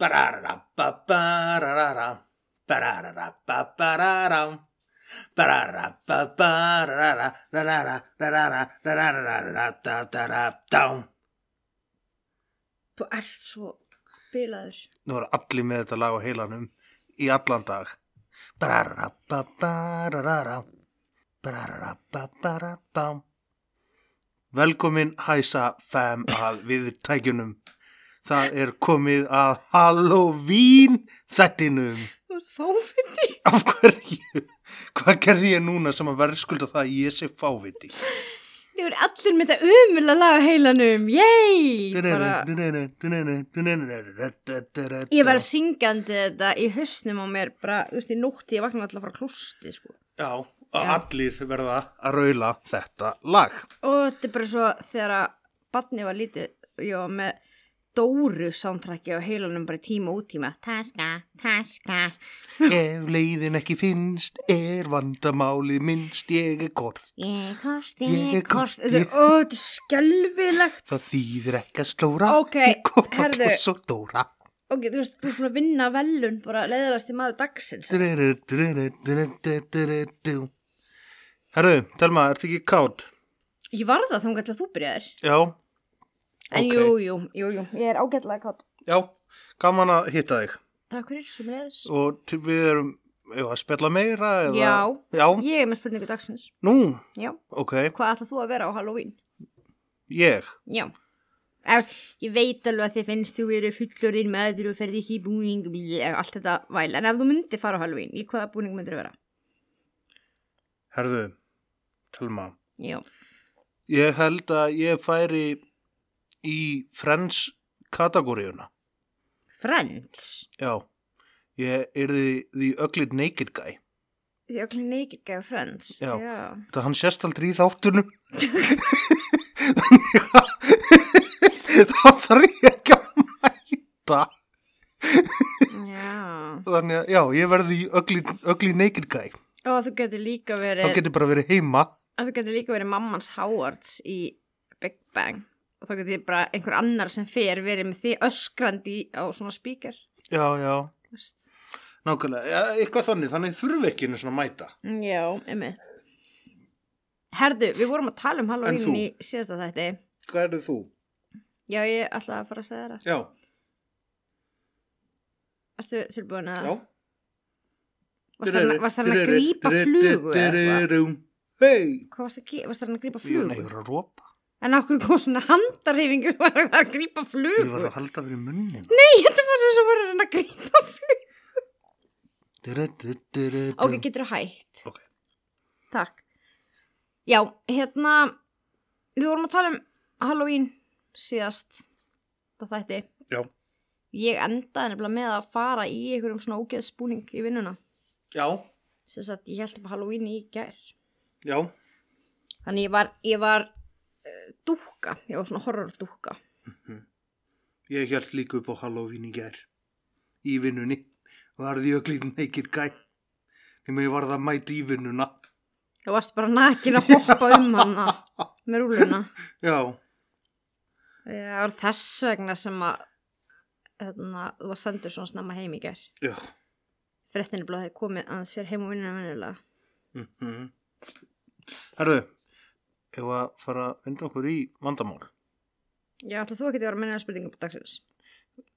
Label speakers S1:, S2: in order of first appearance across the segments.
S1: Ba-da-da-da-ba-ba-da-da-da. Ba-da-da-da-ba-ba-da-da. Ba-da-da-ba-ba-da-da. Da-da-da-da-da-da-da-da-da-da-da-da.
S2: Þú ert svo bilaður.
S1: Nú eru allir með þetta lag á heilanum í allan dag. Ba-da-da-ba-ba-da-da-da. Ba-da-da-ba-ba-da-da. Velkomin hæsa fem að við tækjunum. Það er komið að Halloween þettinum.
S2: Þú ert fáfindi.
S1: Af hverju? Hvað gerði ég núna sem að verðskulda það að ég sé fáviti?
S2: Þú eru allir með þetta umula lag á heilanum. Yey! Bara, ég var syngandi þetta í hausnum á mér bara, þú veist, í nótti ég vaknaði alltaf frá klústi, sko.
S1: Já, og allir verða að raula þetta lag.
S2: Og þetta er bara svo þegar að barni var lítið og ég var með Dóru sántrækki á heilanum bara í tíma og útíma. Taska, taska.
S1: Ef leiðin ekki finnst, er vandamálið minnst, ég er kort.
S2: Ég er kort,
S1: Ég er kort,
S2: Þetta er,
S1: ég-
S2: ó, þetta er skelvilegt.
S1: Það þýðir ekki að slóra,
S2: Ok,
S1: ég kom að
S2: herðu.
S1: búss og dóra.
S2: Ok, þú veist, þú ert búin að vinna velun, bara leiðalasti maður dagsins.
S1: Herru, Telma, ertu ekki kátt?
S2: Ég var það þá til að þú byrjaðir.
S1: Já,
S2: En
S1: Ok.
S2: jú, jú, jú, jú. Ég er ágætlega kátt.
S1: já, gaman að hitta þig
S2: Takk fyrir, sem leiðis.
S1: og til- við erum já, að spjalla meira eða...
S2: Já.
S1: Já,
S2: Ég er með spurningu dagsins.
S1: nú,
S2: Já.
S1: ok,
S2: Hvað ætlað þú að vera á Halloween?
S1: ég,
S2: Já. Eftir, ég veit alveg að þið finnst þú verið fullorinn með þér og ferði ekki í búning og allt þetta væl. En ef þú myndir fara á Halloween, í hvaða búning myndir þú vera?
S1: herðu, Telma,
S2: Já.
S1: ég held að ég færi í Friends kategóriuna,
S2: Friends.
S1: já, ég yrði The Ugly Naked Guy,
S2: Þið okkur neikir gæða Friends.
S1: Já.
S2: Já.
S1: þetta hann sést aldrei í þáttunum, þannig að þá þarf ég ekki að mæta,
S2: Já.
S1: þannig að, já, ég verði The Ugly, ugly Naked Guy,
S2: Og þú getur líka
S1: þá
S2: verið,
S1: getur bara verið heima,
S2: að þú getur líka verið mammans Howards í Big Bang. Og þá getur þið bara einhver annar sem fer verið með þið öskrandi í- á svona spíker.
S1: já, já,
S2: Þú veist.
S1: Nákvæmlega, ja, eitthvað þannig, þannig þurfi ekki einu svona að mæta.
S2: Já, einmitt. Herðu, við vorum að tala um
S1: En þú?
S2: Halloween í síðasta þætti.
S1: Hvað eru þú?
S2: Já, ég ætla að fara að segja þér það.
S1: Já,
S2: Ertu tilbúin að...
S1: já.
S2: Varst þarna- Varst það hann að grípa flugu eða eitthvað?
S1: Hei!
S2: Hvað varst það varst hann að grípa
S1: Jú, nei, ég
S2: flugu?
S1: var að rópa.
S2: En okkur kom svona handarhefingi sem var að grípa
S1: Ég var
S2: flugu.
S1: að halda fyrir munnin. Nei!
S2: Nei, þetta var sem var hann að grípa flugu. Ok, getur hægt.
S1: Ok.
S2: Takk. Já, hérna, við vorum að tala um Halloween síðast, það þætti.
S1: Já,
S2: Ég endaði nefnilega með að fara í einhverjum svona ógeðsbúning í vinnuna.
S1: já,
S2: Þess að ég held upp Halloween í gær.
S1: já,
S2: Þannig ég var, ég var uh, dúkka, ég var svona horrordúkka.
S1: ég held líka upp á Halloween í gær. Í vinnunni. Varði ég að glýta neikir gæ. Nefnum ég varð að mæta í vinnuna.
S2: Þú varst bara nakin að hoppa um hana með rúluna.
S1: Já,
S2: Það var þess vegna sem að þarna, þú var sendur svona snemma heim í gær.
S1: já.
S2: Frettinu blóði komið aðeins fyrir heim og vinnuna venjulega.
S1: Mm Herðu, ef að fara að vinda okkur í vandamál.
S2: Já, ætla þú ekki að vera að menna spurningum på dagsins.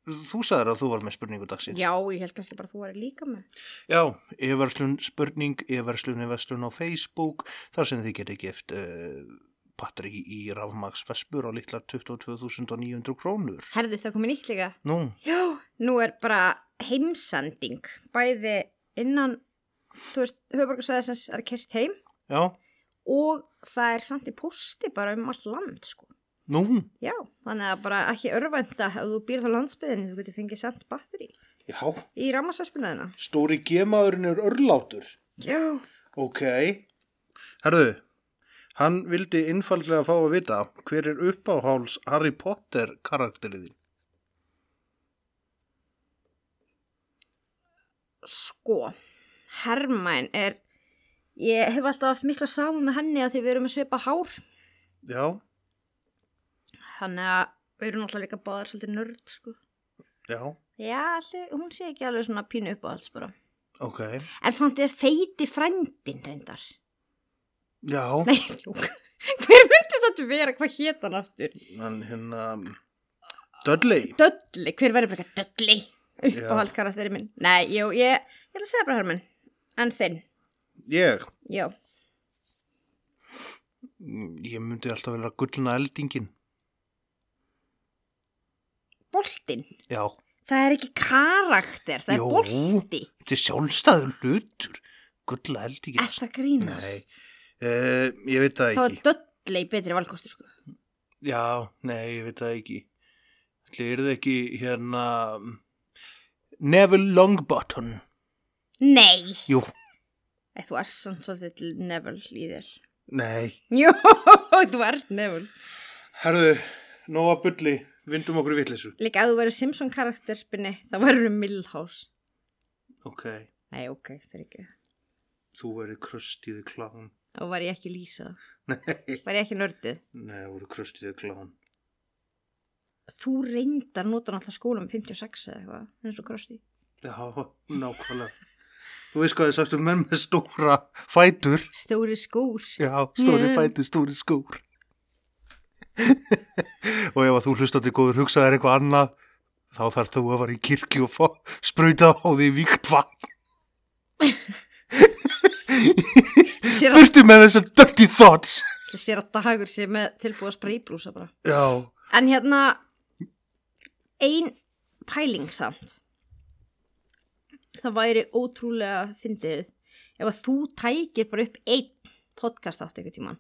S1: Þú sagðir að þú var með spurningu dagsins.
S2: Já, ég held kannski bara að þú væri líka með.
S1: Já, e-verslun spurning, e-verslun, e-verslun á Facebook, þar sem þið getið gift uh, batteri í rafmags vespur á litlar 22.900 krónur.
S2: Herði það komið nýtt líka?
S1: Nú,
S2: Já, nú er bara heimsending. Bæði innan, þú veist, höfuborgarsæðisins er kert heim
S1: já,
S2: og það er samt í posti bara um allt land, sko.
S1: Nú,
S2: Já, þannig að bara ekki örvænta ef þú býrð á landsbyðinni, þú getur fengið samt batteri
S1: já,
S2: í rammasvespunaðina.
S1: stóri gemaðurinn er örlátur.
S2: Já,
S1: Ok. Herðu, hann vildi innfaldlega fá að vita hver er uppáháls Harry Potter karakteriðin.
S2: sko, Hermæn er, ég hef alltaf haft mikla saman með henni að því við erum með svipa hár.
S1: Já,
S2: Þannig að við erum alltaf líka báðar svolítið nörd, sko.
S1: já,
S2: Já, allir, hún sé ekki alveg svona pínu upp á alls bara.
S1: ok.
S2: En samt eða feiti frændin reyndar.
S1: Já,
S2: Nei, júk. Hver myndi þetta vera? Hvað hét hann aftur?
S1: en hérna, Dudley.
S2: Dölli, hver verður bara eitthvað dölli? Uppáhaldskarakteri minn. Nei, jú, ég, ég ætla að segja bara Hermann. En þinn,
S1: Ég,
S2: já.
S1: ég myndi alltaf vera gullna eldingin.
S2: Boltinn.
S1: Já,
S2: Það er ekki karakter, það er
S1: Jú.
S2: bolti.
S1: þetta er sjálfstæður hlutur. Gullna eldingin.
S2: Er það grínast?
S1: Nei, uh, ég veit það
S2: Þá er
S1: ekki.
S2: dölli betri valkostur, sko.
S1: Já, nei, ég veit það ekki. Ætli er það ekki hérna Neville Longbottom.
S2: Nei!
S1: Jú,
S2: Æ, Þú ert samt svolítið Neville í þér.
S1: nei.
S2: Jó, þú ert Neville.
S1: Herðu, nóga bulli, vindum okkur í vitleysu.
S2: Líka að þú verður Simpson karakterpinni, þá verður þú Milhouse.
S1: Ok,
S2: Nei, ok, fyrir ekki.
S1: þú verið kröstiði klán.
S2: Og var ég ekki Lisa?
S1: Nei,
S2: Var ég ekki nördið?
S1: nei, þú verið kröstiði klán.
S2: Þú reyndar nota náttúrulega skóla með 56 eða eitthvað, eins og Krösti.
S1: Já, nákvæmlega. Þú veist hvað þið sagt um menn með stóra fætur.
S2: Stóri skór.
S1: Já, stóri
S2: Mm.
S1: fætur, stóri skór. og ef að þú hlustandi góður hugsaðir eitthvað annað, þá þarf þú að fara í kirkju og fá sprauta á því víkt vatn.
S2: Sér að,
S1: Burtu með þessar dirty thoughts.
S2: sér að dagur sé með tilbúið að sprayblúsa bara.
S1: Já,
S2: En hérna, ein pæling samt. Það væri ótrúlega fyndið ef að þú tækir bara upp einn podcast átt einhvern tíman.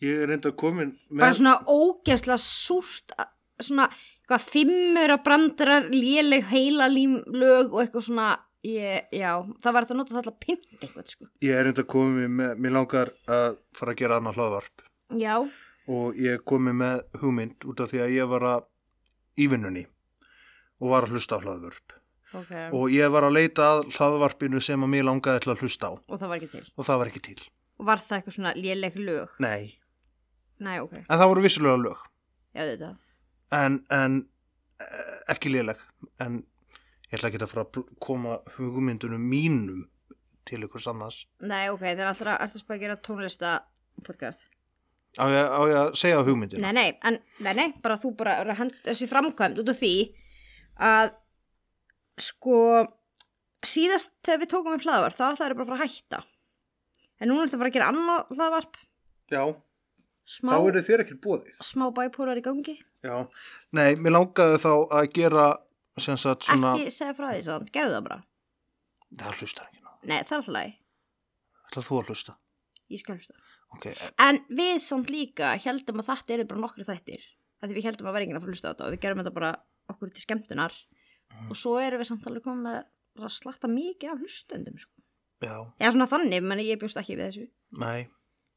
S1: ég er enda komin
S2: bara
S1: með...
S2: svona ógeðslega súrt a- svona eitthvað fimmur að brandarar léleg heilalím lög og eitthvað svona ég, já, það var þetta að nota það alltaf pynt eitthvað sko.
S1: Ég er enda komin með, mér langar að fara að gera annað hlaðvarp
S2: já,
S1: og ég er komin með hugmynd út af því að ég var að í vinnunni og var að hlusta á hlaðvarp
S2: ok og,
S1: og ég var að leita að hlaðvarpinu sem að mér langaði til að hlusta á
S2: það var ekki til
S1: og það var ekki til.
S2: og var það eitthvað svona léleg lög
S1: Nei.
S2: næ, ok,
S1: En það voru vissulega lög
S2: já þetta
S1: en, en eh, ekki léleg en ég ætla ekki að fara að bl- koma hugmyndunum mínum til ykkur annars
S2: næ, ok, það er alltaf að spara að gera tónlista podcast
S1: á ég, á ég að segja hugmyndina
S2: Nei, nei, en, nei, nei, bara þú bara er að henda þessi framkvæmd út af því að sko síðast þegar við tókum upp hlaðvarp þá ætlaði bara að fara að hætta en núna ertu að fara að gera annað hlaðvarp
S1: Já,
S2: smá,
S1: þá eru þér ekkert bóðið
S2: smá bæpólar í gangi
S1: Já, nei, mér langaði þá að gera sem sagt svona
S2: ekki segja frá því samt, gerðu það bara
S1: það hlustar ekki nú,
S2: Nei, það er alltaf lagi,
S1: ætla þú að hlusta
S2: ég skal hlusta
S1: Ok, eh,
S2: En við samt líka heldum að þetta er bara nokkru þættir að því við heldum að vera enginn að fara að hlusta á þetta og við gerum þetta bara okkur til skemmtunar og svo erum við samt alveg komið með bara slatta mikið af hlustendum sko.
S1: já,
S2: Já, svona þannig, menn ég bjóst ekki við þessu.
S1: nei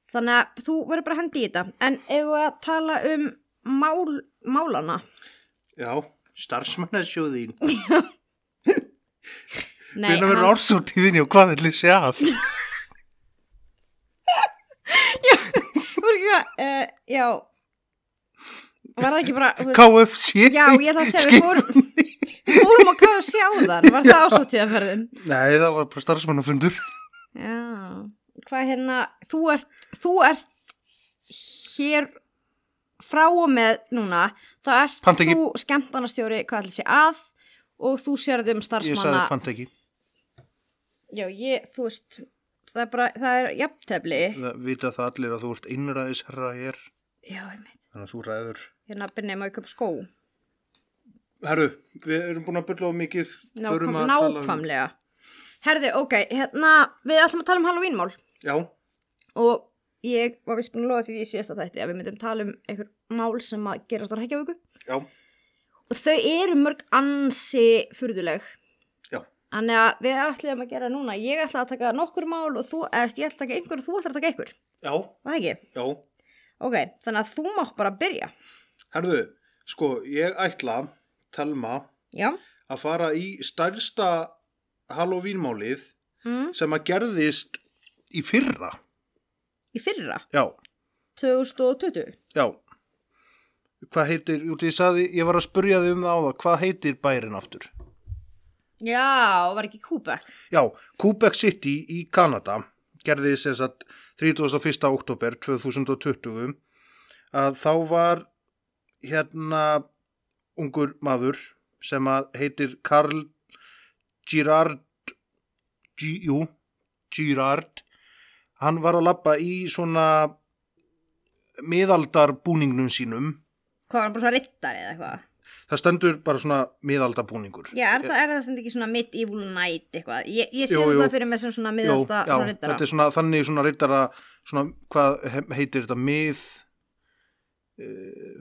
S2: Þannig að þú verður bara að hendi í þetta. En ef við að tala um mál, málana.
S1: Já, starfsmannasjóðin
S2: Nei,
S1: Hvernig verður ársóttíðinni og hvað ætli sé að
S2: Þú er ekki að, uh, já, var það ekki bara, þú-
S1: KFC
S2: já, ég ætla að segja, við fórum, fórum að kafa sjá þann, var það ásóttíðaferðin?
S1: Nei, það var bara starfsmannafundur
S2: Já, hvað hérna, þú ert, þú ert hér frá og með núna, þá ert
S1: Panta ekki-
S2: þú skemmtanastjóri, hvað ætla sé að og þú sérðum
S1: Ég sagði
S2: starfsmanna
S1: fantæki
S2: Já, ég, þú veist, það er bara, það er jafntefli.
S1: það vita það allir að þú ert innræðisherra hér
S2: Já, einmitt.
S1: þannig að þú ræður
S2: Hérna byrnið maður ekki upp skó.
S1: Herru, við erum búin að bylla á mikið
S2: Nákvæm,
S1: förum að tala um-
S2: nákvæmlega. Herði, ok, hérna, við ætlum að tala um Halloweenmál
S1: Já,
S2: og ég var vist búin að lofa því í síðasta þætti að við myndum tala um einhver mál sem að gerast á Reykjavíku
S1: Já.
S2: og þau eru mörg ansi furðuleg
S1: Já.
S2: Þannig að við ætlum að gera núna, ég ætla að taka nokkur mál og þú, eðst, ég ætla að taka einhver og þú ætla að taka einhver,
S1: Já,
S2: var það ekki?
S1: já.
S2: Ok, þannig að þú mátt bara byrja.
S1: Herðu, sko, ég ætla, Telma,
S2: Já.
S1: að fara í stærsta Halloween-málið
S2: Mm.
S1: sem að gerðist í fyrra.
S2: Í fyrra,
S1: Já,
S2: 2020.
S1: já. Hvað heitir, jú, ég, saði, ég var að spurja þig um það á það, hvað heitir bærin aftur?
S2: Já, var ekki Kúbek.
S1: Já, Quebec City í Kanada gerði sem sagt 31. oktober 2020 að þá var hérna ungur maður sem að heitir Karl Girard G, jú, Girard hann var að labba í svona miðaldarbúningnum sínum
S2: Hvað var hann bara svona rittari eða eitthvað?
S1: það stendur bara svona miðaldarbúningur
S2: Já, er, það, er það sem ekki svona mid-evil night eitthvað? Ég, ég sé
S1: Jú, jú.
S2: þetta fyrir mig sem svona miðalda
S1: já,
S2: svona rittara.
S1: þetta er svona þannig svona rittara svona, hvað he- heitir þetta mið uh,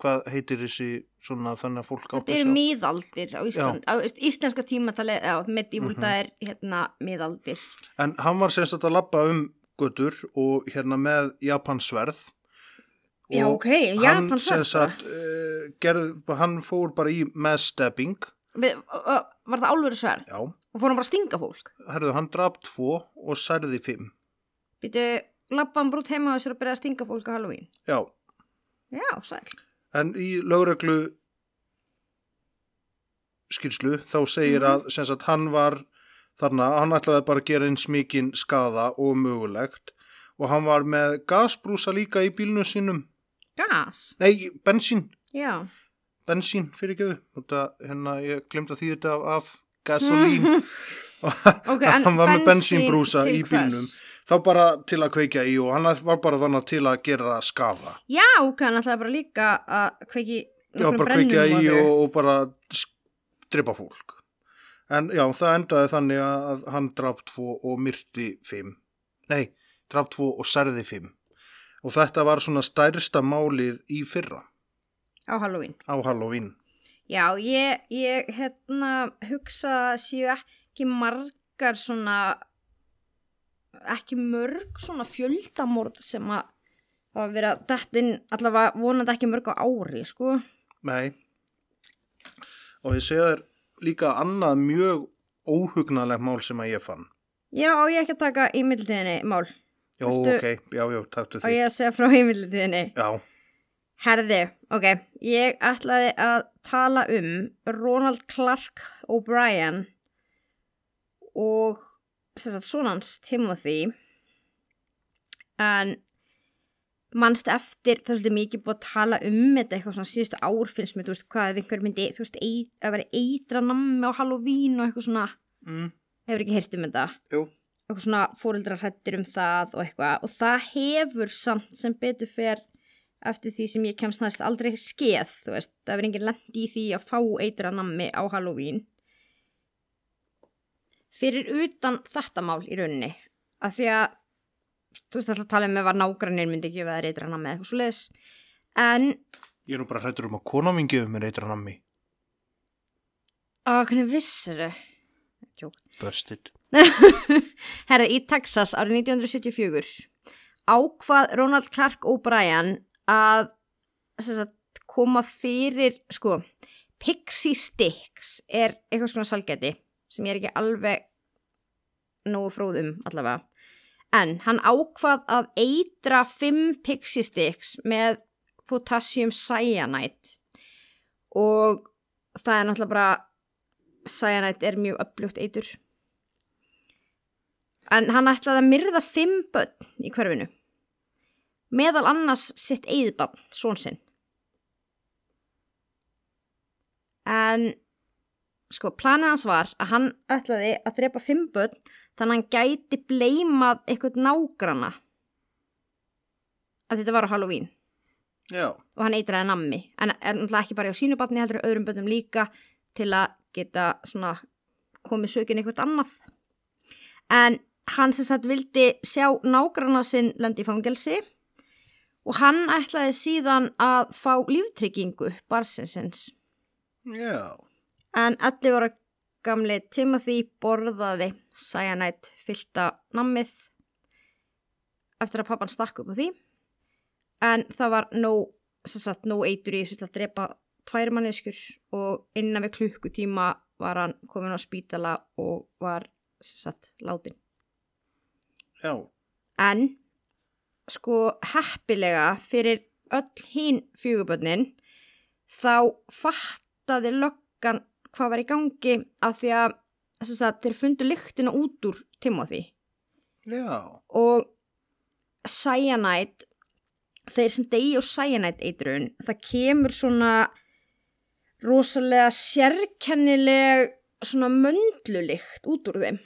S1: hvað heitir þessi svona þannig að fólk átta
S2: Þetta
S1: sig
S2: eru
S1: á-
S2: miðaldir á Ísland. Á, veist, íslenska tímatalið, já, mid-evil,
S1: Mhm.
S2: það er hérna miðaldir.
S1: en hann var semst að labba um götur og hérna með japansverð
S2: Já, ok,
S1: hann sem
S2: japansverð,
S1: sagt, uh, gerð, hann fór bara í með stepping
S2: Við, ö- ö- var það álveru sverð?
S1: já,
S2: Og fór hann bara að stinga fólk?
S1: herðu, hann draf tvo og særði fimm
S2: Býtu, labba hann brútt heima á sér að byrja að stinga fólk á Halloween.
S1: já,
S2: Já, sæl.
S1: En í lögreglu skilslu þá segir að sem sagt hann var þarna, hann ætlaði bara að gera eins mikinn skada og mögulegt og hann var með gasbrúsa líka í bílnu sínum,
S2: Gas.
S1: nei, bensín,
S2: Já.
S1: bensín fyrir geðu, þetta, hérna, ég glemta því þetta af, af gasolín og
S2: Ok, en
S1: hann var með
S2: bensín
S1: bensínbrúsa í
S2: til hvers?
S1: bílnum, þá bara til að kveikja í og hann var bara þarna til að gera skada.
S2: Já, ok, hann ætlaði bara líka að kveiki
S1: Já,
S2: nokkrum
S1: bara
S2: brennum
S1: kveikja í
S2: þau.
S1: og, og bara dripa fólk. En já, það endaði þannig að hann draf tvo og myrti fimm. Nei, draf tvo og særði fimm. Og þetta var svona stærsta málið í fyrra
S2: á Halloween.
S1: á Halloween.
S2: Já, ég, ég hérna, hugsa að séu ekki margar svona, ekki mörg svona fjöldamorð sem að hafa verið að dætt inn allavega vonandi ekki mörg á ári, sko.
S1: Nei. Og ég segja þér líka annað mjög óhugnalegt mál sem að ég fann.
S2: Já, á ég ekki að taka í millitíðinni mál.
S1: Jó,
S2: Viltu-
S1: ok, já, já, taktu
S2: Á
S1: því.
S2: ég að segja frá í millitíðinni.
S1: Já,
S2: Herði, ok, ég ætlaði að tala um Ronald Clark O'Brien og sem sagt sonans Timothy en mannst eftir, það er svolítið mikið búið að tala um þetta eitthvað svona síðustu ár finnst mér, þú veist, hvað ef einhver myndi, þú veist, eit, að vera eitra nammi á Halloween og eitthvað svona,
S1: mm,
S2: hefur ekki heyrt um þetta
S1: jú,
S2: eitthvað svona fóreldrar hrættir um það og eitthvað og það hefur samt sem betur fer eftir því sem ég kemst næst aldrei skeð, þú veist, það verður enginn lendi í því að fá eitra nammi á Halloween fyrir utan þetta mál í rauninni, að því að þú veist, alltaf talið með var nágrannir myndi ekki veða eitra nammi eða eitthvað svo leis en,
S1: ég er nú bara hrættur um að kona mín gefur mér eitra nammi.
S2: að hvernig vissir þau? Jók
S1: Busted.
S2: Herði, í Texas árið 1974 ákvað Ronald Clark O'Brien að sem sagt, koma fyrir, sko, Pixie Sticks er eitthvað svona salgæti sem ég er ekki alveg nógu fróð um allavega. En hann ákvað að eitra fimm Pixie Sticks með potassium cyanide og það er náttúrulega bara cyanide er mjög uppljótt eitur. En hann ætlaði að myrða fimm börn í hverfinu. Meðal annars sitt eigiðbarn, són sinn. En sko, planið hans var að hann ætlaði að drepa fimm börn þannig að hann gæti bleimað eitthvað nágrana. Að þetta var á Halloween
S1: Já,
S2: og hann eitraði nammi en er náttúrulega ekki bara á sínu batni heldur öðrum bönnum líka til að geta svona komið sökin eitthvað annað en hann sem sagt vildi sjá nágranna sinn lendi í fangelsi og hann ætlaði síðan að fá líftryggingu barsinsins.
S1: Já,
S2: En 11 ára gamli Timothy borðaði cyanide fylta nammið eftir að pappan stakk upp á því. En það var no, sem sagt, no eitur í þessu til að drepa tvær manneskjur og innan við klukkutíma var hann komin á spítala og var sem sagt, látin.
S1: já,
S2: En sko heppilega fyrir öll hín fjögubönnin þá fattaði löggan hvað var í gangi af því að sem sagt, þeir fundu lyktina út úr Timothy
S1: já,
S2: og cyanide þeir sem degi og cyanide eitrun það kemur svona rosalega sérkennileg svona möndlulykt út úr þeim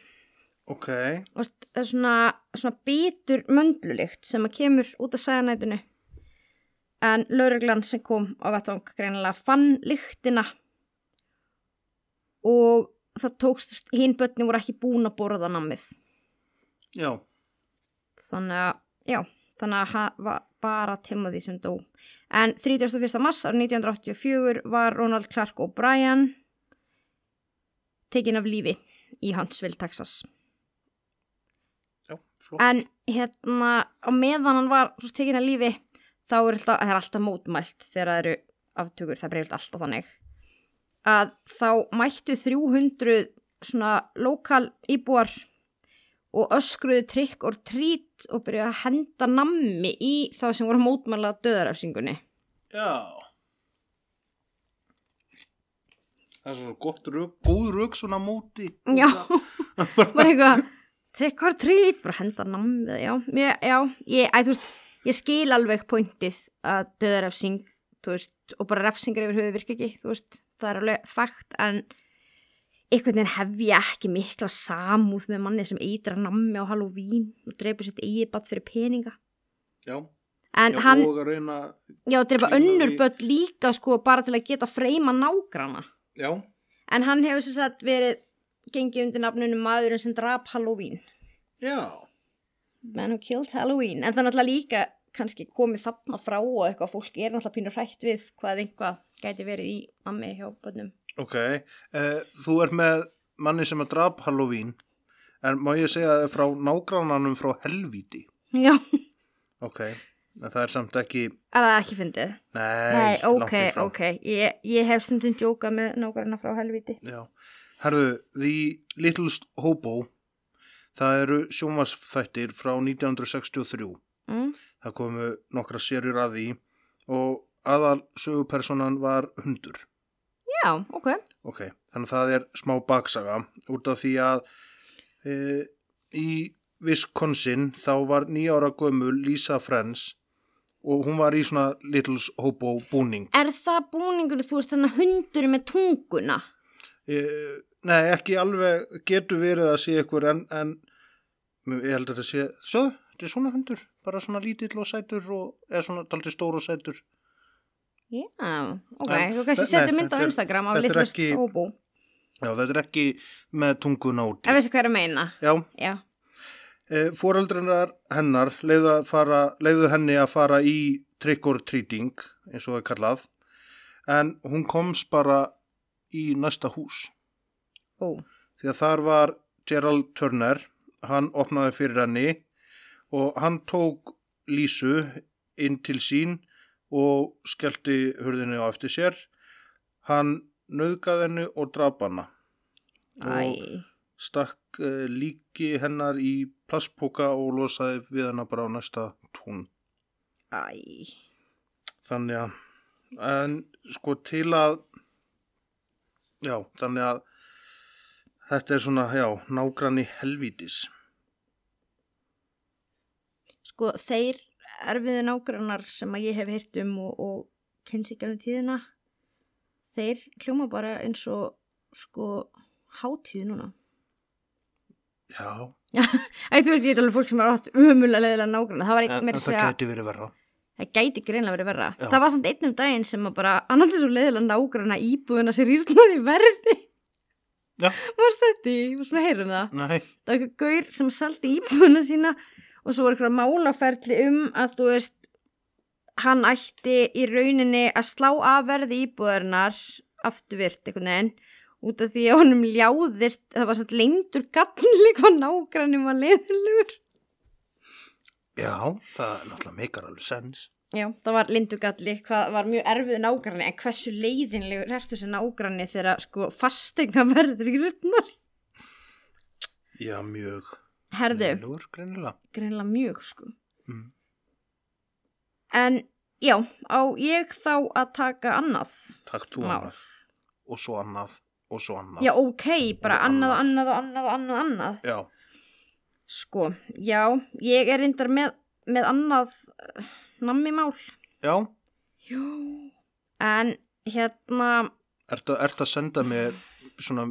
S1: ok,
S2: Og st- það er eh, svona, svona bítur möndlulikt sem að kemur út af sæðanætinu en lauruglan sem kom á vettvang greinilega fann lyktina og það tókst hinn börnin voru ekki búin að borða nammið
S1: já,
S2: þannig að, já, þannig að hann var bara Timothy sem dó. En 31. mars árið 1984 var Ronald Clark O'Brien tekin af lífi í Huntsville, Texas.
S1: já, flott,
S2: En hérna á meðan hann var svo tekin að lífi þá er alltaf, það er alltaf mótmælt þegar það eru aftökur, það breyfilt alltaf þannig að þá mættu 300 svona lokal íbúar og öskruðu trikk og trít og byrjuðu að henda nammi í þá sem voru að mótmæla döðarafsingunni.
S1: já. Það er svona gott rök, góð rök svona á móti.
S2: Já, bara eitthvað trikk og trít, bara henda nammi, já, ég, já, ég, æ, þú veist, ég skil alveg pointið að döðarefsing, þú veist, og bara refsingar yfir höfu virka ekki, þú veist, það er alveg fakt, en einhvern veginn hef ég ekki mikla samúð með manni sem eitra nammi á Halloween og dreipur sitt eigið batt fyrir peninga.
S1: Já,
S2: En
S1: já,
S2: hann,
S1: og að reyna,
S2: já, dreipa
S1: glíma
S2: önnur
S1: við-
S2: börn líka, sko, bara til að geta freyma nágrana.
S1: já,
S2: En hann hefur sem sagt verið gengið undir nafnunum maðurinn sem drap Halloween.
S1: já,
S2: Man Who Killed Halloween en það er náttúrulega líka kannski komið þarna frá og eitthvað fólk er náttúrulega pínur hrætt við hvað einhvað gæti verið í ammi hjá bönnum
S1: ok. Uh, þú ert með manni sem að drap Halloween, en má ég segja að það er frá nágrannanum frá helvíti,
S2: Já,
S1: ok. En það er samt ekki,
S2: er það ekki fyndið?
S1: nei,
S2: Nei,
S1: langt
S2: ok,
S1: í frá.
S2: ok ég, ég hef stundum djókað með nákvæmna frá helviti
S1: Já, herðu, The Little Hobo, það eru sjónvarsþættir frá 1963.
S2: mm?
S1: Það komu nokkra serjur að því og aðal sögupersonan var hundur.
S2: Já, ok
S1: Ok, þannig að það er smá baksaga út af því að e, í Wisconsin þá var nýjára gömul Lisa Friends og hún var í svona Little Hobo búning.
S2: Er það búningur, þú veist, þannig að hundur með tunguna?
S1: Eh, Nei, ekki alveg getur verið að sé ykkur en, en ég held að þetta sé, sjáðu, þetta er svona hundur, bara svona lítill og sætur og eða svona taldi stór og sætur.
S2: Já, ok,
S1: En-
S2: þú kannski
S1: Nei,
S2: setur mynd
S1: þetta
S2: á
S1: er-
S2: Instagram af
S1: þetta er
S2: litlust
S1: ekki-
S2: óbú
S1: Já, þetta er ekki með tunguna
S2: En
S1: úti.
S2: veistu hvað er að meina?
S1: Já,
S2: Já,
S1: e, foreldrinnar hennar leiðu, að fara, leiðu henni að fara í trick or treating, eins og það er kallað, en hún komst bara í næsta hús.
S2: ó,
S1: því að þar var Gerald Turner, hann opnaði fyrir henni og hann tók Lísu inn til sín og skellti hurðinni á eftir sér. Hann nöðgaði henni og draf hana,
S2: æ
S1: stakk eh, líki hennar í plastpoka og losaði við hennar bara á næsta tún.
S2: Æ,
S1: Þannig að, en sko til að, já, þannig að þetta er svona, já, nágranni helvítis.
S2: sko þeir erfiðu nágrannar sem að ég hef heyrt um og, og kynsíkjarum tíðina þeir hljóma bara eins og sko hátíð núna
S1: Já,
S2: Æ, þú veist, ég veit alveg fólk sem er átt umulega leðilega nágrannar, það var
S1: En,
S2: eitt
S1: en
S2: meira að
S1: það
S2: segja,
S1: gæti verið verra.
S2: það gæti greinlega verið verra
S1: Já.
S2: það var samt einn um daginn sem að bara annars þessu leðilega nágranna íbúðina sér rýrnaði verði
S1: Já.
S2: Varst þetta í, varst búin að heyra um það?
S1: Nei,
S2: Það var eitthvað gaur sem seldi íbúðuna sína og svo var eitthvað málaferli um að þú veist, hann ætti í rauninni að slá af verði íbúðurinnar afturvirt einhvern veginn út af því að honum ljáðist, það var satt leindur galli hvað nágrannum var leiðilegur.
S1: já, það er náttúrulega meikar alveg sens.
S2: Já, það var lindugalli, hvað var mjög erfið nágranni, en hversu leiðinlegur ertu þessi nágranni þegar sko fastegna verður í rutnar?
S1: Já, mjög.
S2: Herðu,
S1: Lúr, greinilega.
S2: greinlega mjög sko.
S1: Mm.
S2: En já, á ég þá að taka annað?
S1: Takk þú
S2: Mál.
S1: annað. Og svo annað, og svo annað.
S2: Já, ok, bara
S1: Og
S2: annað,
S1: annað.
S2: annað, og annað, og annað, og annað.
S1: Já,
S2: Sko, já, ég er reyndar með, með annað uh, nammi mál.
S1: já.
S2: Jú. En hérna,
S1: Ertu, ertu að senda mér svona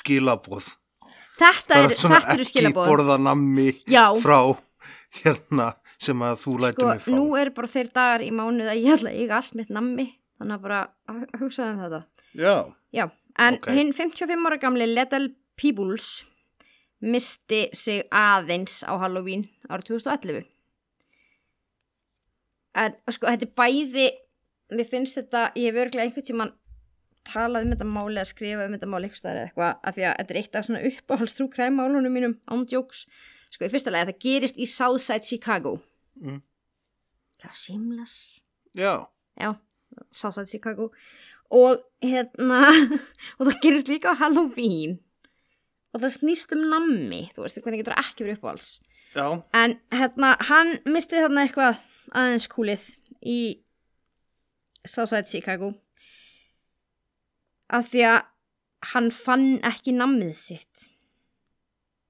S1: skilabóð?
S2: þetta er,
S1: svona
S2: þetta eru
S1: Ekki
S2: skilabóð.
S1: borða nammi
S2: Já,
S1: frá hérna sem að þú lætur
S2: sko,
S1: mig frá.
S2: nú eru bara þeir dagar í mánuð að ég ætla að eiga allt mitt nammi. Þannig að bara að hugsaðu um þetta.
S1: Já,
S2: Já, en
S1: Ok.
S2: hinn 55 ára gamli Lethal Peebles misti sig aðeins á Halloween árið 2011. En sko, þetta er bæði, mér finnst þetta, ég hef örglega einhvern tímann talað um þetta máli að skrifa um þetta máli eitthvað eða eitthvað, af því að þetta er eitt af svona uppáhaldstrú kræmálunum mínum, ándjóks. Sko, í fyrsta lega, það gerist í Southside Chicago.
S1: Mm.
S2: Það var seamless
S1: já,
S2: já, Southside Chicago og hérna og það gerist líka á Halloween og það snýst um nammi þú veist, hvernig getur það ekki verið uppáhalds
S1: já,
S2: en hérna, hann misti þarna eitthvað aðeins kúlið í Southside Chicago af því að hann fann ekki nammið sitt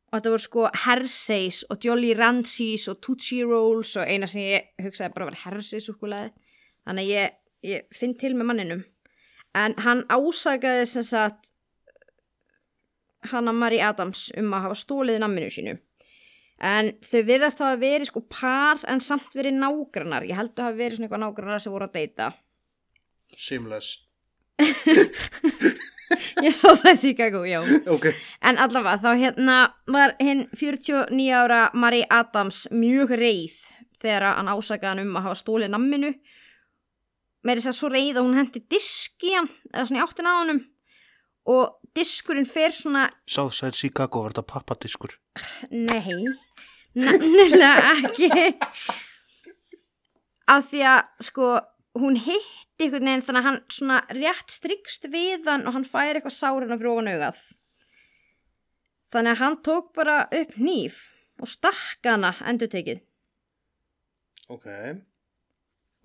S2: og þetta voru sko Herseys og Jolly Ranchies og Tootsie Rolls og eina sem ég hugsaði bara var Herseys súkkulaði þannig að ég, ég finn til með manninum en hann ásakaði sem sagt hana Marie Adams um að hafa stólið namminu sínu en þau virðast hafa verið sko par en samt verið nágrannar ég held að hafa verið svona eitthvað nágrannar sem voru að deyta
S1: seamless.
S2: ég svo sætt Chicago, já
S1: Ok,
S2: En allavega, þá hérna var hinn 49 ára Marie Adams mjög reið þegar hann ásakaði hann um að hafa stólið namminu. Meiri sér svo reið að hún hendi diski í hann, eða svona í áttina á honum og diskurinn fer svona,
S1: Southside Chicago var þetta pappadiskur.
S2: nei, nefnilega ekki. Af því að sko, hún hitti einhvern veginn þannig að hann svona rétt strikst við hann og hann fær eitthvað sárina fyrir ofan augað. Þannig að hann tók bara upp nýf og stakk hana endur tekið
S1: Ok,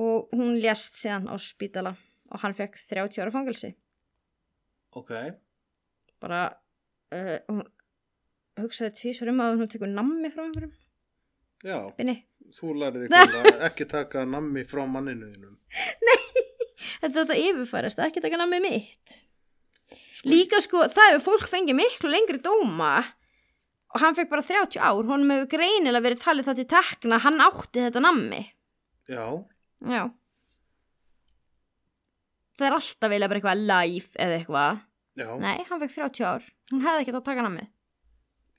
S2: og hún lést síðan á spítala og hann fekk 30 ára fangelsi.
S1: ok,
S2: Bara, uh, hún hugsaði tvísar um að hún tekur nammi frá einhverjum
S1: já,
S2: binni.
S1: þú lærið ykkur að ekki taka nammi frá manninu þínum.
S2: Þetta þetta yfirfærast, ekki taka nammi mitt. Líka sko, það hefur fólk fengið miklu lengri dóma og hann fekk bara 30 ár, honum hefur greinilega verið talið það til tekna, að hann átti þetta nammi.
S1: Já,
S2: Já. Það er alltaf vilja bara eitthvað live eða eitthvað.
S1: já,
S2: Nei, hann fekk 30 ár. Hún hefði ekkert átt að taka nammi.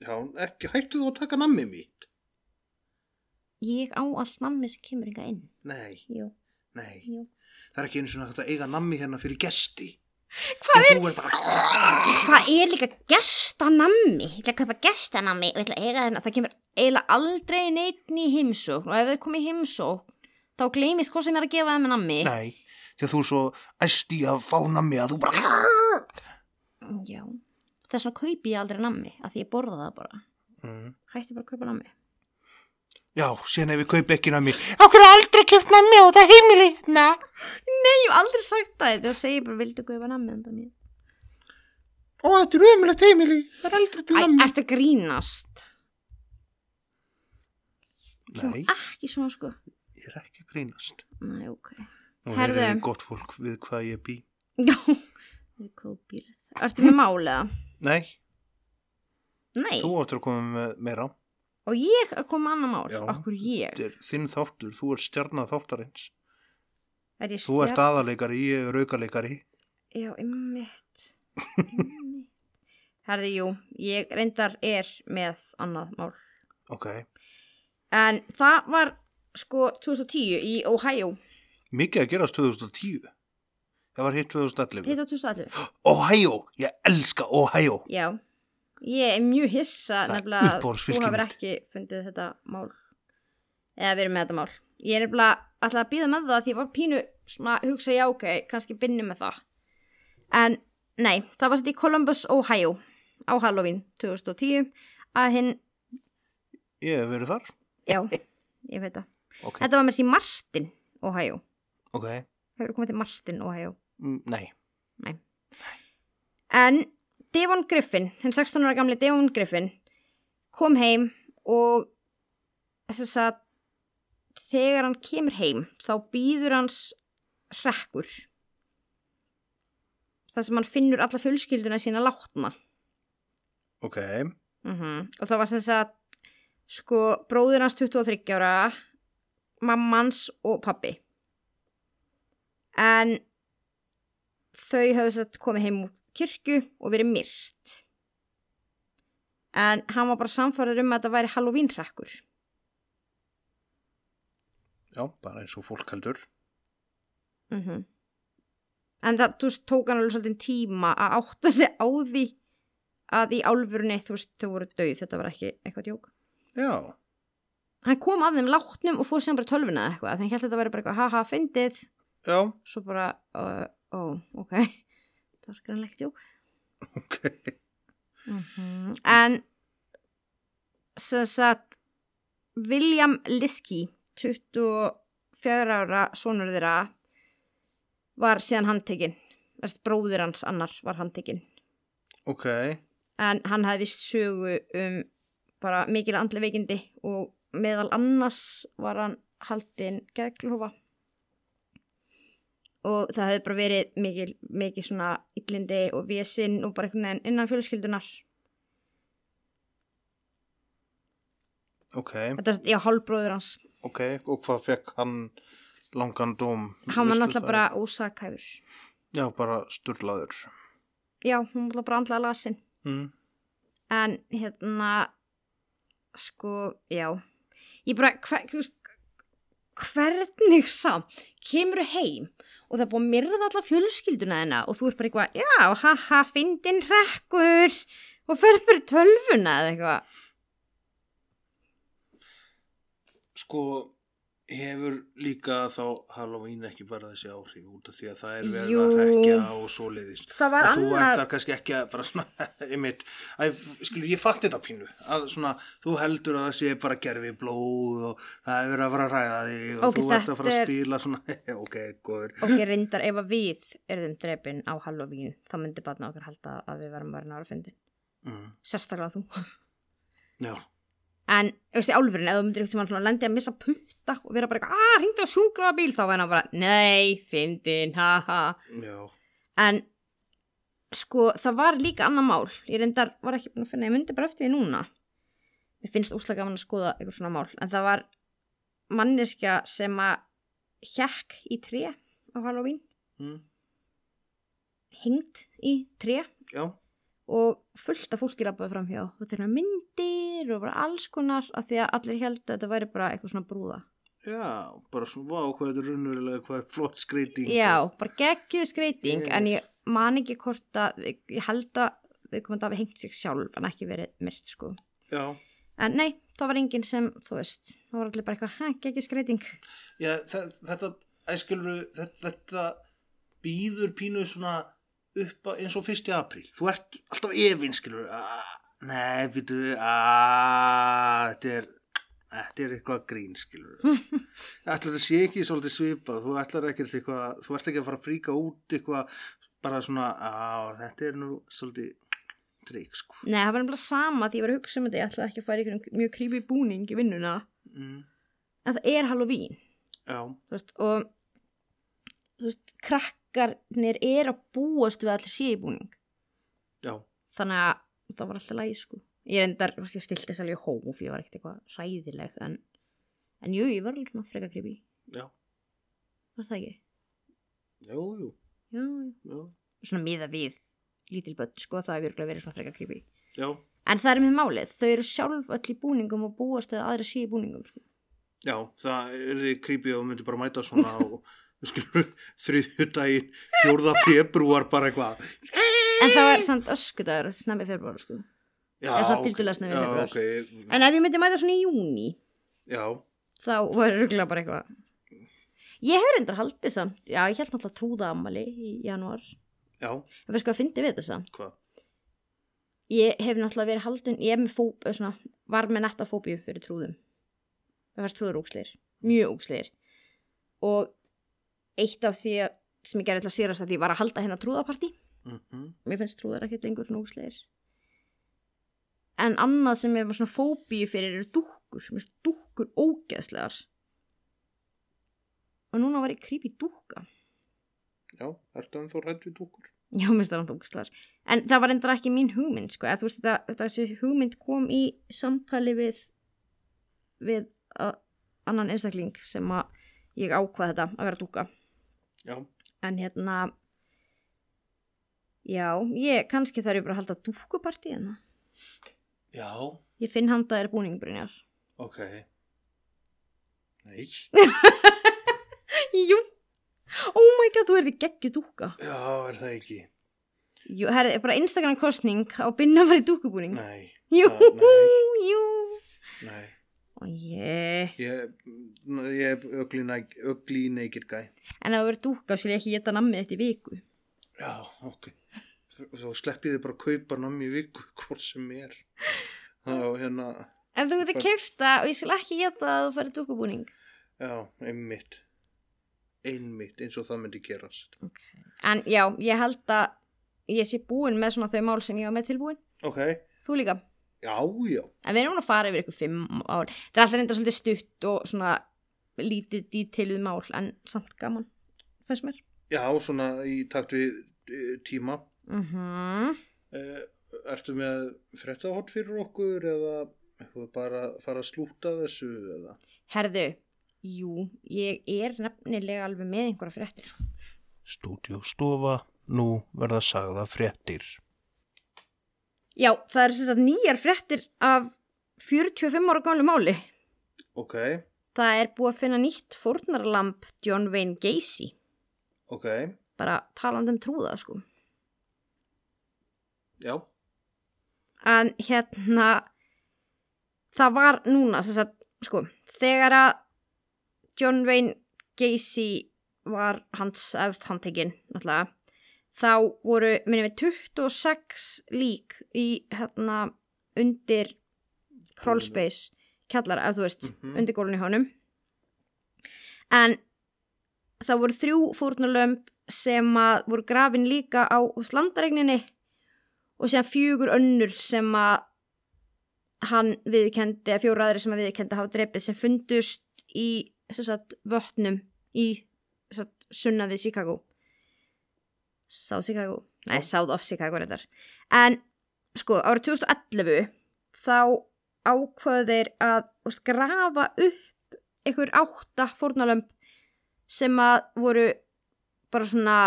S1: já, ekki, hættu þú að taka nammi mitt?
S2: Ég á allt nammi sem kemur inga inn.
S1: Nei,
S2: Jú.
S1: nei,
S2: Jú.
S1: það er ekki einu svona hægt að eiga nammi hérna fyrir gesti.
S2: Hvað
S1: er? Þú er bara,
S2: Það er líka gestanammi. Ég ætla að kaupa gestanammi og ég ætla að eiga þennan. Það kemur eiginlega aldrei neitt í heimsókn og ef þau komið í heimsókn þá gleymist hvað sem er að gefa þeim með nammi.
S1: nei, því að þú er svo æst í að fá nammi að þú bara,
S2: Já. Þess vegna kaupi ég aldrei nammi af því ég borða það bara.
S1: mm.
S2: Hætti bara að kaupa nammi.
S1: já, síðan ef við kaup ekki nammi,
S3: Okkur aldrei kjöft nammi á það heimili hérna.
S2: Nei, ég hef aldrei sagt það. Þú segir bara, vildu kaupa nammi enda mér?
S3: Ó, þetta er ömulegt heimili. Það er aldrei til
S2: Æ,
S3: nammi.
S2: ertu að grínast?
S1: nei,
S2: Ekki svona sko.
S1: ég er ekki að grínast.
S2: Næ, ok.
S1: Nú
S2: Herðu.
S1: er þið gott fólk við hvað ég bý.
S2: Já. Við kópir. Ertu með máliða?
S1: Nei,
S2: Nei.
S1: þú áttur að koma með meira.
S2: Og ég að koma með annað mál.
S1: Já.
S2: Akkur ég.
S1: Þetta er þinn þáttur, þú ert stjarnað þáttarins.
S2: Er ég
S1: Þú ert aðalegari, ég er aukaleikari.
S2: Já, ymmit. herði, jú, ég reyndar er með annað mál.
S1: Ok.
S2: En það var sko 2010 í Ohio,
S1: Mikið að gerast 2010. Það var hitt 2011.
S2: hitt á 2011.
S1: Ohio, ég elska Ohio.
S2: Já, ég er mjög
S1: Það
S2: hissa
S1: er
S2: nefnilega að þú
S1: uppáhaldsfylki
S2: hafur
S1: mitt.
S2: ekki fundið þetta mál. Eða verið með þetta mál. Ég er nefnilega alltaf að býða með það því ég var pínu svona að hugsa já, ok, kannski binni með það. En nei, það var sett í Columbus, Ohio á Halloween 2010 að hinn,
S1: Ég hef verið þar.
S2: já, ég veit það.
S1: Ok,
S2: Þetta var með sér Martin, Ohio.
S1: ok.
S2: Hefur komið til Martin, Ohio.
S1: Mm, Nei.
S2: En Devon Griffin, henn 16 ára gamli Devon Griffin, kom heim og þess að þegar hann kemur heim þá býður hans hrekkur. Það sem hann finnur alla fjölskylduna sína látna.
S1: Ok,
S2: Mm Og það var sem sagt sko bróður hans 23 ára, mammans og pappi. En þau höfðu sett komið heim úr kirkju og verið myrt. En hann var bara samfæður um að þetta væri Halloween-hrekkur.
S1: já, bara eins og fólk heldur.
S2: Mm En það, þú veist, tók hann alveg svolítið tíma að átta sig á því að í álfurni, þú veist, þau voru döið, þetta var ekki eitthvað djók.
S1: Já,
S2: hann kom að þeim látnum og fór síðan bara í tölvuna eða eitthvað þannig held að þetta væri bara eitthvað haha fyndið
S1: já,
S2: svo bara uh, ó ok það var grannlegt jú
S1: ok.
S2: Mhm. en sem sagt William Liskey 24 ára sonur þeirra var síðan handtekinn Þessi bróðir hans annar var handtekinn
S1: Ok,
S2: en hann hafði vist sögu um bara mikil andli veikindi og meðal annars var hann haldinn geðklófa og það hefði bara verið mikil, mikil svona illindi og vésinn og bara einhvern veginn innan fjölskyldunar
S1: ok,
S2: þetta er já, hálfbróður hans
S1: ok. Og hvað fekk hann langan dóm?
S2: hann var
S1: Veistu
S2: náttúrulega
S1: það?
S2: bara ósakhæfur
S1: Já, bara sturlaður.
S2: já, hann var náttúrulega bara andlega lasinn
S1: Mm.
S2: en hérna sko, já ég bara, hver, þú veist, hvernig samt kemur heim og það er búið að myrða alla fjölskylduna þeina og þú ert bara eitthvað, já, haha, fyndin hrekkur og ferð fyrir tölvuna eða eitthvað
S1: Sko, hefur líka þá Halloween ekki bara þessi áhrif út af því að það er verið
S2: Jú.
S1: að rekja og svoleiðis.
S2: það var
S1: og þú
S2: annað,
S1: ætlar kannski ekki að bara svona, einmitt, að, skilur, ég fatt þetta pínu, að svona, þú heldur að það sé bara gerfi blóð og það er verið að fara að ræða þig og
S2: Ok,
S1: þú ert að fara að
S2: þetta er-
S1: spila svona, ok, góður,
S2: ok, reyndar ef að við erðum drefin á Halloween þá myndi batna okkar halda að við varum varin ára fyndin,
S1: mm,
S2: sérstaklega þú
S1: já,
S2: En, veist þið, álfurinn, ef þú myndir eitthvað svona lendi að missa putta og vera bara eitthvað, að, hringdu á sjúkraðabíl, þá væri hann bara, nei, fyndin, haha.
S1: já,
S2: En, sko, það var líka annað mál. Ég reyndar, var ekki búin að finna, ég myndi bara eftir því núna. Mér finnst úslega gaman að skoða eitthvað svona mál. En það var manneskja sem að hjekk í tré á Halloween,
S1: mm,
S2: hengt í tré
S1: já,
S2: og fullt af fólki labbaði framhjá og þeirra myndir og bara alls konar af því að allir held að þetta væri bara eitthvað svona brúða
S1: já, bara svona, vá, hvað þetta er raunverulega, hvað er flott skreiting.
S2: Já, bara geggjuð skreiting
S1: Yes.
S2: en ég man ekki hvort að ég held að við komum að hafa hengt sig sjálf en ekki verið myrt sko
S1: Já,
S2: en nei, það var enginn sem, þú veist það var allir bara eitthvað, hæ, geggjuð skreiting
S1: já, þe- þetta, æskilur, þetta, þetta býður pínu svona upp að, eins og fyrsti apríl, þú ert alltaf efinn, skilur, aaa, nei, býtu, aaa, þetta er, þetta er eitthvað grín, skilur. Ætlar þetta sé ekki svolítið svipað, þú ætlar ekkert eitthvað, þú ert ekki að fara að fríka út eitthvað, bara svona, aaa, þetta er nú svolítið dreik, sko.
S2: Nei, það var nefnilega sama því ég var að hugsa um þetta ég ætlaði ekki að fara í einhverjum mjög creepy búning í vinnuna
S1: Mm,
S2: en það er Halloween
S1: já,
S2: þú veist, og þú veist, krakkarnir er að búast við að allir sé í búning
S1: já,
S2: þannig að það var alltaf lægi sko ég reyndar, þú veist, ég stilti þess alveg í hóf ég var ekkert eitthvað ræðileg en, en jú, ég var alveg svona freka creepy
S1: já,
S2: varst það ekki?
S1: jú, jú,
S2: Já, já.
S1: jú.
S2: svona miða við lítil börn sko, það hefur örugglega verið svona frekar creepy
S1: já,
S2: en það er mér málið, þau eru sjálf öll í búningum og búast að aðra sé í búningum sko.
S1: já, það er því creepy og myndi bara mæta svona og við skulum þriðju daginn, fjórða febrúar bara eitthvað.
S2: en það var samt öskudagur snemmi februar sko.
S1: Já,
S2: Eða samt
S1: ok,
S2: tiltölulega snemma í
S1: já,
S2: febrúar.
S1: ok, Mm,
S2: en ef ég myndi mæta svona í júni
S1: já,
S2: þá var rugla bara eitthvað ég hefur endur haldið samt já, ég held náttúrulega trúða ammali í janúar
S1: já,
S2: ég veist hvað að fyndi við þessa
S1: hvað,
S2: ég hef náttúrulega verið haldin ég er með fó, eh, svona, var með netta fóbíu fyrir trúðum það fannst trúður úkslir, mjög úkslir og eitt af því að- sem ég gerði til að sérast að því var að halda hérna trúðapartí
S1: mhm,
S2: mér finnst trúðar ekkert lengur svona úksleir en annað sem ég var svona fóbíu fyrir eru dúkkur mér finnst dúkkur ógeðslegar og núna var ég creepy dúkka
S1: já, ertu en þú rætt við dúkur?
S2: já, mér finnst það náttúrulega ógeðslegar en það var endur ekki mín hugmynd sko, eða þú veist þetta, þetta þessi hugmynd kom í samtali við við að, annan einstakling sem að ég ákvað þetta að vera dúkka
S1: Já,
S2: en hérna já, ég kannski þarf ég bara að halda dúkkupartí hérna
S1: já,
S2: Ég finn handa þér búning, Brynjar.
S1: ok, nei,
S2: Jú. Oh my god, þú erði geggju dúka.
S1: já, er það ekki,
S2: Jú, herði, bara Instagram kostning á binna farið dúkubúning.
S1: nei,
S2: Jú,
S1: það- Ah, nei.
S2: jú.
S1: nei,
S2: Ó, ég.
S1: ég, ég er ugly, nag- ugly naked guy.
S2: En ef þú verður dúka, skil ég ekki geta nammið þetta í viku.
S1: Já, ok. Þá sleppið þið bara að kaupa námi í viku hvort sem er. Já, hérna,
S2: En þú getur
S1: Bara-
S2: kefta og ég skil ekki geta að þú farið dúkubúning.
S1: já, einmitt. Einmitt, eins og það myndi gerast.
S2: En já, ég held að ég sé búin með svona þau mál sem ég var með tilbúin.
S1: Ok,
S2: Þú líka.
S1: já, já,
S2: En við erum núna að fara yfir ykkur fimm ár. Það er alltaf reynda svolítið stutt og svona lítið dítiluð mál, en samt gaman, fannst mér.
S1: já, svona í takt við eh, tíma.
S2: Mhm.
S1: Eh, Ertu með frettahort fyrir okkur eða eitthvað bara að fara að slúta þessu eða?
S2: Herðu, jú, ég er nefnilega alveg með einhverja fréttir.
S4: Stúdíóstofa, nú verða sagða fréttir.
S2: Já, það er sem sagt nýjar fréttir af 45 ára gamlu máli.
S1: Ok,
S2: Það er búið að finna nýtt fórnarlamb John Wayne Gacy.
S1: ok,
S2: Bara talandi um trúða, sko.
S1: já,
S2: En hérna, það var núna, sem sagt, sko, þegar að John Wayne Gacy var hans efst handtekinn, náttúrulega, þá voru, minnum við, 26 lík í hérna undir crawl space kjallara, að þú veist,
S1: Mhm.
S2: undir gólunni honum. En það voru þrjú fórnulömb sem að voru grafin líka á slandaregninni og séðan fjögur önnur sem að hann viðkendi, eða fjóru aðri sem að viðkendi hafa drepið sem fundust í sem sagt, vötnum í sem sagt, sunna við Chicago South Chicago nei, South of Chicago reyndar en sko, árið 2011 þá ákvaðu þeir að þú veist, grafa upp einhver átta fórnalömb sem að voru bara svona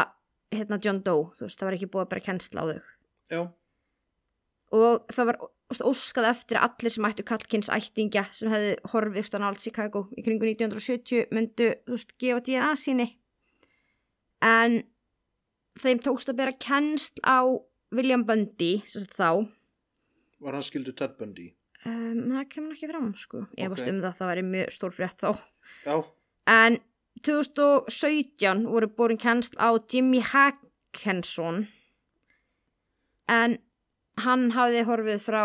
S2: hérna John Doe, þú veist, það var ekki búið að bara kennsla á þau
S1: já,
S2: og það var þú veist, óskað eftir að allir sem ættu kallkins ættingja sem hefðu horfið þú veist, á nálægt Chicago í kringu 1970 myndu þú veist, gefa DNA síni en þeim tókst að bera kennsl á William Bundy sem sagt þá
S1: var hann skildu Ted Bundy?
S2: um, það kemur ekki fram sko ég veist
S1: Ok.
S2: um það, það væri mjög stór frétt þá
S1: Já,
S2: en 2017 voru borin kennsl á Jimmy Hackenson en hann hafði horfið frá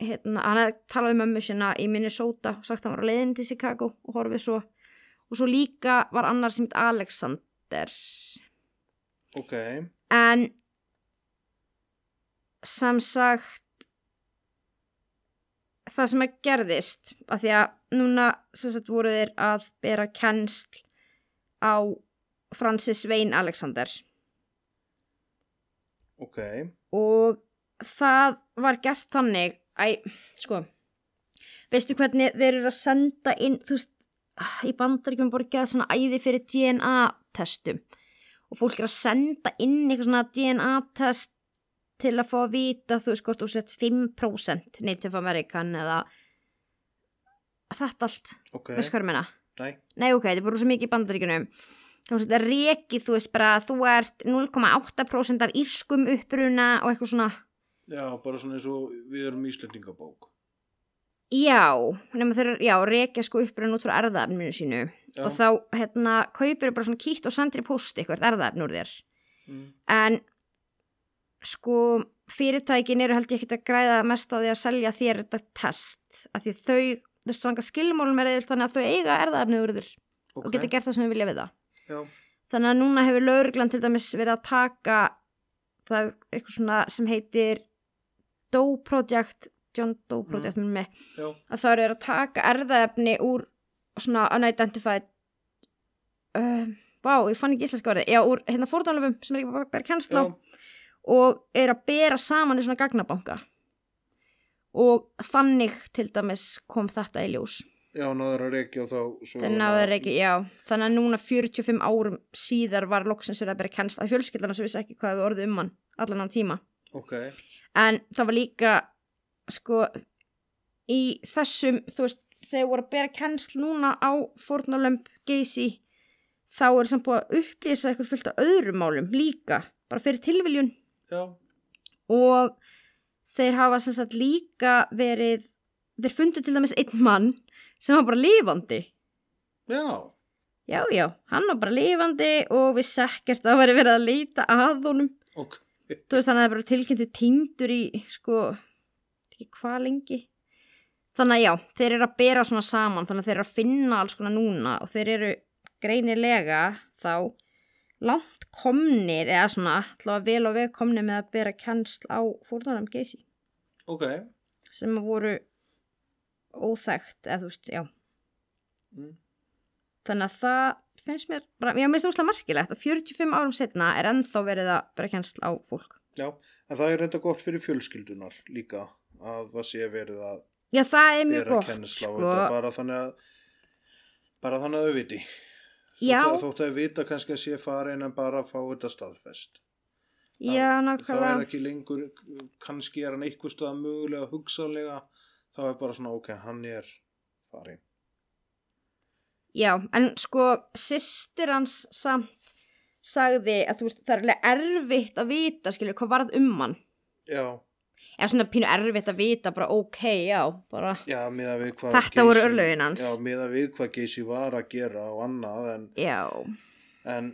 S2: hérna, hann hafði talað um ömmu sinna í Minnesota og sagt að hann var á leiðinni til Chicago og horfið svo og svo líka var annar sem heit Alexander
S1: ok,
S2: en sem sagt það sem að gerðist að því að núna sem sagt voru þeir að bera kennsl á Francis Wayne Alexander
S1: ok,
S2: og það var gert þannig æ, sko veistu hvernig þeir eru að senda inn þú veist, í bandaríkjum borgað svona æði fyrir DNA testum og fólk er að senda inn eitthvað svona DNA test til að fá að vita þú veist hvort þú sett 5% Native American eða þetta allt,
S1: ok,
S2: veist hvað er meina
S1: nei,
S2: nei ok, þetta er bara svo mikið í bandaríkunum þá er þetta rekið, þú veist bara að þú ert 0,8% af írskum uppruna og eitthvað svona
S1: já, bara svona eins og við erum Íslendingabók
S2: já, nema þeir já, rekja sko uppruna út frá erðaefninu sínu
S1: já,
S2: og þá hérna kaupir bara svona kýtt og sandri post eitthvað erðaefn úr þér
S1: mm,
S2: en sko fyrirtækin eru held ég ekkert að græða mest á því að selja þér þetta test af því þau, þú veist, þannig að skilmálum er eða þannig að þau eiga erðaefnið úr þér
S1: ok,
S2: og geta gert það sem þau vilja við það
S1: já,
S2: þannig að núna hefur lögreglan til dæmis verið að taka það er eitthvað svona sem heitir Doe Project John Doe Project mm. með,
S1: já,
S2: að það eru að taka erðaefni úr svona unidentified uh, vá, ég fann ekki íslenska orðið já, úr hérna fórtámlöfum sem er ekki bara, bara kennsla
S1: já
S2: á og er að bera saman í svona gagnabanka og þannig til dæmis kom þetta í ljós
S1: já, náður að reykja og þá svo-
S2: þannig að, er ekki, já, þannig að núna 45 árum síðar var loksins verið að bera kennst að fjölskyldana sem vissi ekki hvað við orðið um hann allan hann tíma
S1: ok,
S2: en það var líka sko í þessum, þú veist, þegar voru að bera kennsl núna á fórnalömb geysi, þá er samt búið að upplýsa eitthvað fullt af öðrum málum líka, bara fyrir tilviljun
S1: já,
S2: og þeir hafa sem sagt líka verið þeir fundu til dæmis einn mann sem var bara lifandi
S1: já
S2: já, já, hann var bara lifandi og við sekkert að væri verið að leita að honum
S1: ok,
S2: þú veist þannig að það er bara tilkynntu týndur í sko, ekki hvað lengi þannig að já, þeir eru að bera svona saman þannig að þeir eru að finna alls konar núna og þeir eru greinilega þá langt komnir eða svona alltaf vel og vel komnir með að bera kennsl á fórðanum geysi
S1: ok
S2: sem að voru óþægt eða þú veist, já
S1: Mm.
S2: þannig að það finnst mér bara, já, mér finnst úrslega markilegt að 45 árum setna er ennþá verið að bara kennsl á fólk
S1: já, en það er reynda gott fyrir fjölskyldunar líka að það sé verið að
S2: já, það er mjög
S1: bera
S2: gott
S1: kennsla á
S2: sko.
S1: þetta bara þannig að bara þannig að þau viti
S2: já,
S1: þótt að, þótt að vita kannski að sé farin en bara að fá þetta staðfest
S2: já,
S1: þá er
S2: nákvæmlega
S1: ekki lengur kannski er hann einhver stað mögulega hugsanlega þá er bara svona ok, hann er farin
S2: já, en sko, systir hans samt sagði að þú veist, það er alveg erfitt að vita skilur, hvað varð um hann
S1: já,
S2: eða svona pínu erfitt að vita bara, ok, já, bara
S1: já, miða við hvað
S2: Þetta voru örlögin hans.
S1: já, miða við hvað geysi var að gera og annað en,
S2: já,
S1: en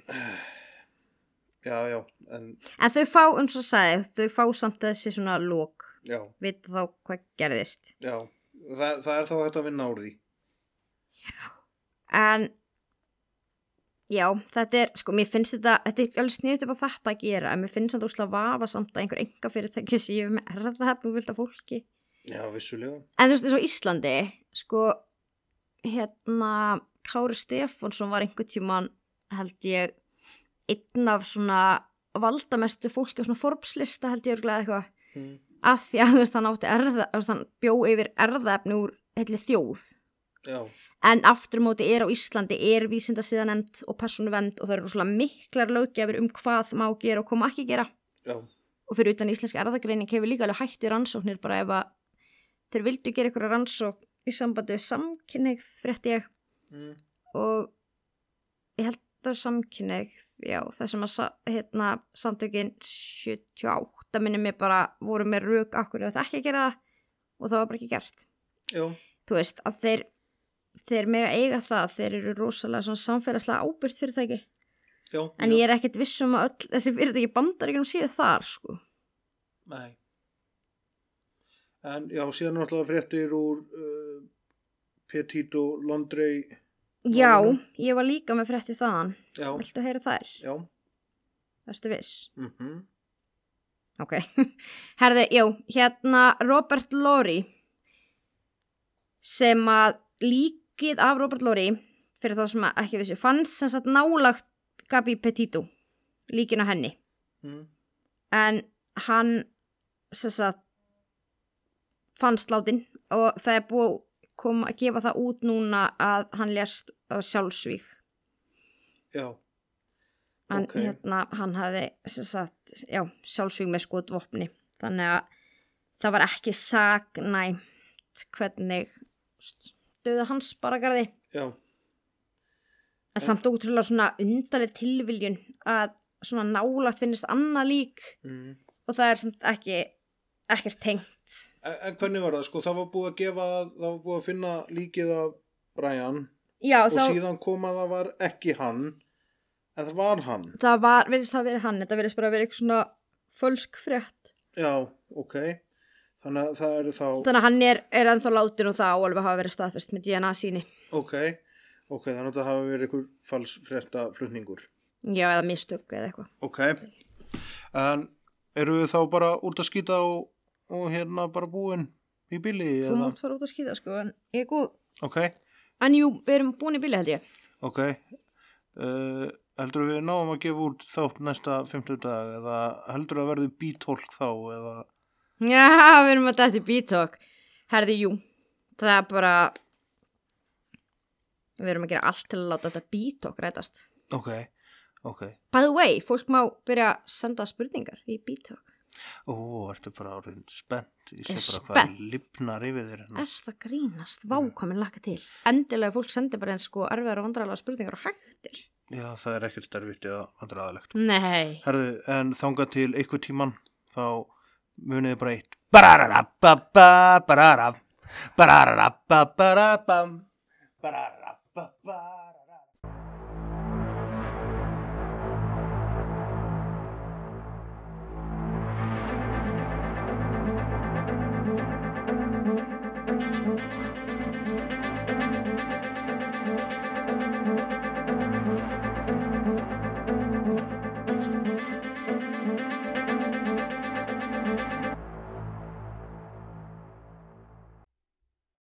S1: já, já, en
S2: En þau fá, eins og sagði, þau fá samt þessi svona lók,
S1: já,
S2: vita þá hvað gerðist.
S1: já Þa, það er þá hægt að vinna úr því
S2: En, já, þetta er, sko, mér finnst þetta, þetta er alveg sniðut upp á þetta að gera, en mér finnst þetta úrslega vafa samt að einhver enga fyrirtæki séu með erðahefnum vilt af fólki.
S1: já, vissulega
S2: En þú veist, eins og Íslandi, sko, hérna, Kári Stefánsson var einhvern tíman, held ég, einn af svona valdamestu fólki á svona Forbes-lista, held ég, örugglega, eða eitthvað.
S1: mm.
S2: af því að þú veist, hann átti erða, þú veist, hann bjó yfir erðaefni úr heitli þjóð
S1: já,
S2: en aftur á móti er á Íslandi er vísinda síðanemnd og persónuvend og það eru svona miklar löggefur um hvað má gera og hvað má ekki gera
S1: já,
S2: og fyrir utan íslensk erðagreining hefur líka alveg hættu rannsóknir bara ef að þeir vildu gera ykkur rannsókn í sambandi við samkynneig frétti ég
S1: mm.
S2: og ég held það er samkynneig já, þessum að sa- hérna, samtökin 78 minni mig bara voru með rauk akkur eða ekki að gera það og það var bara ekki gert
S1: já,
S2: þú veist að þeir þeir mega eiga það, þeir eru rosalega svona samfélagslega ábyrgt fyrirtæki
S1: já
S2: en
S1: já,
S2: ég er ekkert viss um að öll þessi fyrirtæki bandar ekki um síðu þar sko
S1: Nei. En já, síðan náttúrulega fréttir úr uh, Petito Londrei,
S2: já,
S1: Málunum.
S2: ég var líka með frétti þaðan
S1: já,
S2: viltu heyra þær,
S1: já,
S2: ertu viss
S1: mhm,
S2: Ok, herði, jú, hérna Robert Lorry sem að líkið af Robert Lorry fyrir þá sem að ekki vissi, fannst sem sagt nálagt Gabi Petito líkin á henni,
S1: mhm,
S2: en hann sem sagt fannst látin og það er búið að koma að gefa það út núna að hann lést á sjálfsvík
S1: já.
S2: hann,
S1: Ókei.
S2: hérna, hann hafði sem sagt, já, sjálfsvíg með skotvopni þannig að það var ekki saknæmt hvernig stöðu hans bara garði
S1: já,
S2: en samt ótrúlega svona undanlega tilviljun að svona nálagt finnist annað lík
S1: mhm.
S2: og það er samt ekki ekkert tengt
S1: En, en hvernig var það, sko, það var búið að gefa, það var búið að finna líkið af Brian
S2: já,
S1: og
S2: þá,
S1: síðan kom að það var ekki hann, en það var hann.
S2: það var, verðist það verið hann þetta verðist bara verið eitthvað svona fölsk frétt
S1: Já, ok, þannig að það eru þá,
S2: þannig að hann er, er ennþá látin og það á alveg hafa verið staðfest með DNA síni
S1: ok, ok, þannig að það hafa verið einhver falsfrétta flutningur.
S2: já, eða mistök eða eitthvað
S1: Ok, en eru við þá bara út að skýta og, og hérna bara búin í bíli
S2: þú
S1: eða?
S2: mátt fara út að skýta sko en ég er góð
S1: Ok,
S2: en jú, við erum búin í bíli held ég
S1: ok, uh, heldur við náum að gefa út þátt næsta 50 dag eða heldur að verði bítólk þá eða...
S2: já, við erum að dætti bítok herði, jú, það er bara við erum að gera allt til að láta þetta bítok rætast
S1: Ok, ok.
S2: by the way, fólk má byrja að senda spurningar í bítok
S1: Ó, ertu bara orðin spennt. Ég sé
S2: Ég er
S1: bara hvað
S2: spennt.
S1: lipnar yfir þér. hérna.
S2: er það grínast, vákomin laka til endilega fólk sendir bara eins sko erfiðar og vandrarlega spurningar og hættir
S1: Já, það er ekkert erfitt eða andraðalegt.
S2: nei,
S1: Herðu, en þanga til einhver tíman þá muniði bara eitt. Bararababa, bararab, bararababa, bararababa.